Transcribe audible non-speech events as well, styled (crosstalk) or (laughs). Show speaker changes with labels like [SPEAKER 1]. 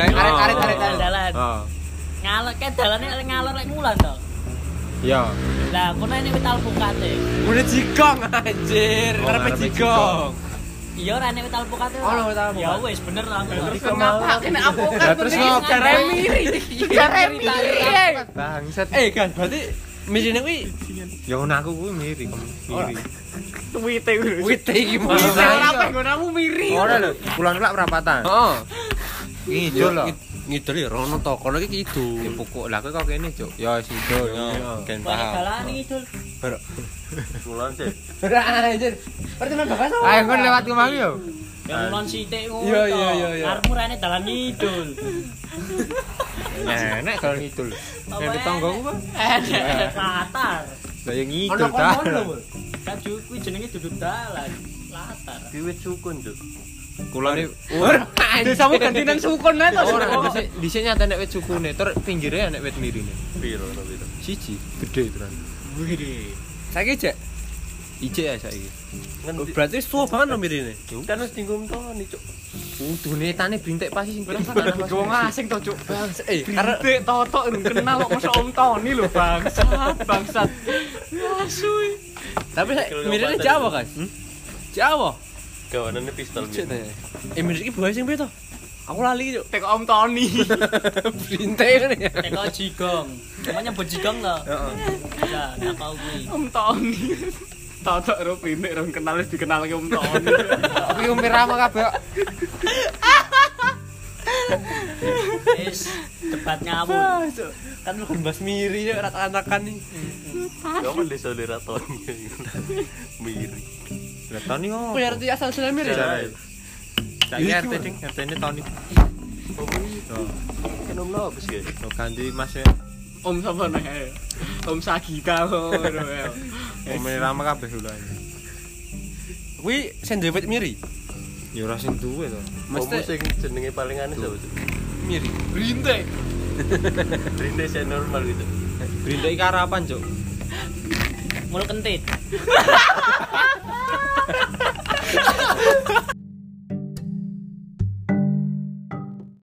[SPEAKER 1] Arek arek arek
[SPEAKER 2] Dalan,
[SPEAKER 1] arek.
[SPEAKER 2] dalan.
[SPEAKER 1] Oh.
[SPEAKER 2] Ngalor kayak dalane lek ngalor lek mulan to.
[SPEAKER 1] Iya.
[SPEAKER 2] Lah kono ini metal pukate.
[SPEAKER 3] Mulai jigong anjir,
[SPEAKER 1] Oh,
[SPEAKER 3] ngarepe
[SPEAKER 1] ngarepe
[SPEAKER 3] jigong.
[SPEAKER 2] Iya ora nek metal pukate.
[SPEAKER 3] Oh, nek metal
[SPEAKER 2] Ya
[SPEAKER 3] pukat.
[SPEAKER 2] wis bener lah.
[SPEAKER 4] Kenapa? Kenapa?
[SPEAKER 1] Lah, terus ngopo?
[SPEAKER 3] Cara miri.
[SPEAKER 4] Cara piye?
[SPEAKER 1] Bangsat.
[SPEAKER 3] Eh, kan berarti misine kuwi
[SPEAKER 1] Ya ngono aku kuwi mirip. Mirip.
[SPEAKER 4] Tweet e kuwi.
[SPEAKER 3] wite iki mau.
[SPEAKER 1] Wite
[SPEAKER 4] Ora apa nggonamu miri.
[SPEAKER 1] Ora lho, kulon lak perapatan.
[SPEAKER 3] Heeh.
[SPEAKER 1] Ngidul lho.
[SPEAKER 3] Ngidul ya rono to, kono iki
[SPEAKER 1] Ya
[SPEAKER 3] kidul.
[SPEAKER 1] pokok lah kowe kok kene, Cuk. Ya wis ngidul.
[SPEAKER 3] Yo, gen
[SPEAKER 2] Wah,
[SPEAKER 3] paham.
[SPEAKER 2] dalane idul.
[SPEAKER 1] Kulon sih.
[SPEAKER 3] Ora anjir. Pertemuan bagas apa?
[SPEAKER 1] Ayo kon lewat kemari yo.
[SPEAKER 2] Ya mulon sithik ngono.
[SPEAKER 3] Iya,
[SPEAKER 2] to.
[SPEAKER 3] iya, iya, iya.
[SPEAKER 2] Karepmu rene dalan
[SPEAKER 1] (laughs)
[SPEAKER 2] idul.
[SPEAKER 1] Nah, nek kalau ngidul. Nek di tonggoku
[SPEAKER 2] (laughs)
[SPEAKER 1] kok.
[SPEAKER 2] Latar.
[SPEAKER 1] Lah ya
[SPEAKER 3] Ono
[SPEAKER 1] ngidul ta.
[SPEAKER 3] kon lho, Bul.
[SPEAKER 2] Kan ju kuwi jenenge duduk dalan. Latar.
[SPEAKER 1] Duit sukun, Cuk. Kulon iki
[SPEAKER 3] Ora. Desamu ganti nang sukun ae to.
[SPEAKER 1] Ora, dhisik dhisik nyata nek wit sukune, tur pinggire nek wit mirine.
[SPEAKER 4] Piro to piro?
[SPEAKER 1] Siji, gede tenan.
[SPEAKER 3] Saiki jek.
[SPEAKER 1] Ije ya saiki.
[SPEAKER 3] Berarti suwe banget lho mirine.
[SPEAKER 4] Kan wis dingum to nih, Cuk.
[SPEAKER 1] Udune tane brintik pasti sing pirang
[SPEAKER 4] Wong asing to, Cuk.
[SPEAKER 3] Eh, karena
[SPEAKER 4] Arek totok kenal kok mosok Om Tony lho, bangsat, bangsat.
[SPEAKER 3] tapi nek
[SPEAKER 4] Kalau
[SPEAKER 3] mirine
[SPEAKER 4] ngobatan
[SPEAKER 3] Jawa
[SPEAKER 4] itu.
[SPEAKER 3] kan. Jawa.
[SPEAKER 4] Gawanane pistol
[SPEAKER 3] Cek tanya. Eh, mirip iki buaya sing piye to? Aku lali iki, Cuk.
[SPEAKER 4] Tek Om
[SPEAKER 3] (laughs)
[SPEAKER 4] Tony.
[SPEAKER 3] Brintik ngene ya.
[SPEAKER 2] Teko jigong. Namanya bejigong to. Heeh. Lah, tak kau kuwi.
[SPEAKER 4] Om Tony. Totok ro pindik ro kenal wis dikenalke Om Tony.
[SPEAKER 1] Tapi umir rama kabeh.
[SPEAKER 2] Wis debat ngawur.
[SPEAKER 3] Kan lu kan bahas miri ya anak-anakan nih.
[SPEAKER 4] Kamu desa lera Tony. Miri.
[SPEAKER 1] Lah tani yo.
[SPEAKER 3] Aku ya arti asal sudah miri.
[SPEAKER 1] Jarai. Saiki
[SPEAKER 3] Iya,
[SPEAKER 1] RT
[SPEAKER 3] gimana?
[SPEAKER 1] ding, RT ini tani.
[SPEAKER 4] Kan Om Lopes ya.
[SPEAKER 1] Lo Oh, ganti Mas ya.
[SPEAKER 4] Om sapa nih? Om Sagita ngono ya.
[SPEAKER 1] Umir rama kabeh ulane.
[SPEAKER 3] Kuwi sendewet miri.
[SPEAKER 1] Ya ora sing duwe to.
[SPEAKER 3] Mesti
[SPEAKER 4] jenenge paling aneh sapa Cuk?
[SPEAKER 3] miri.
[SPEAKER 4] Rinte. Rinte saya normal gitu.
[SPEAKER 1] Brintik iki karapan, Cuk.
[SPEAKER 2] Mulu kentit.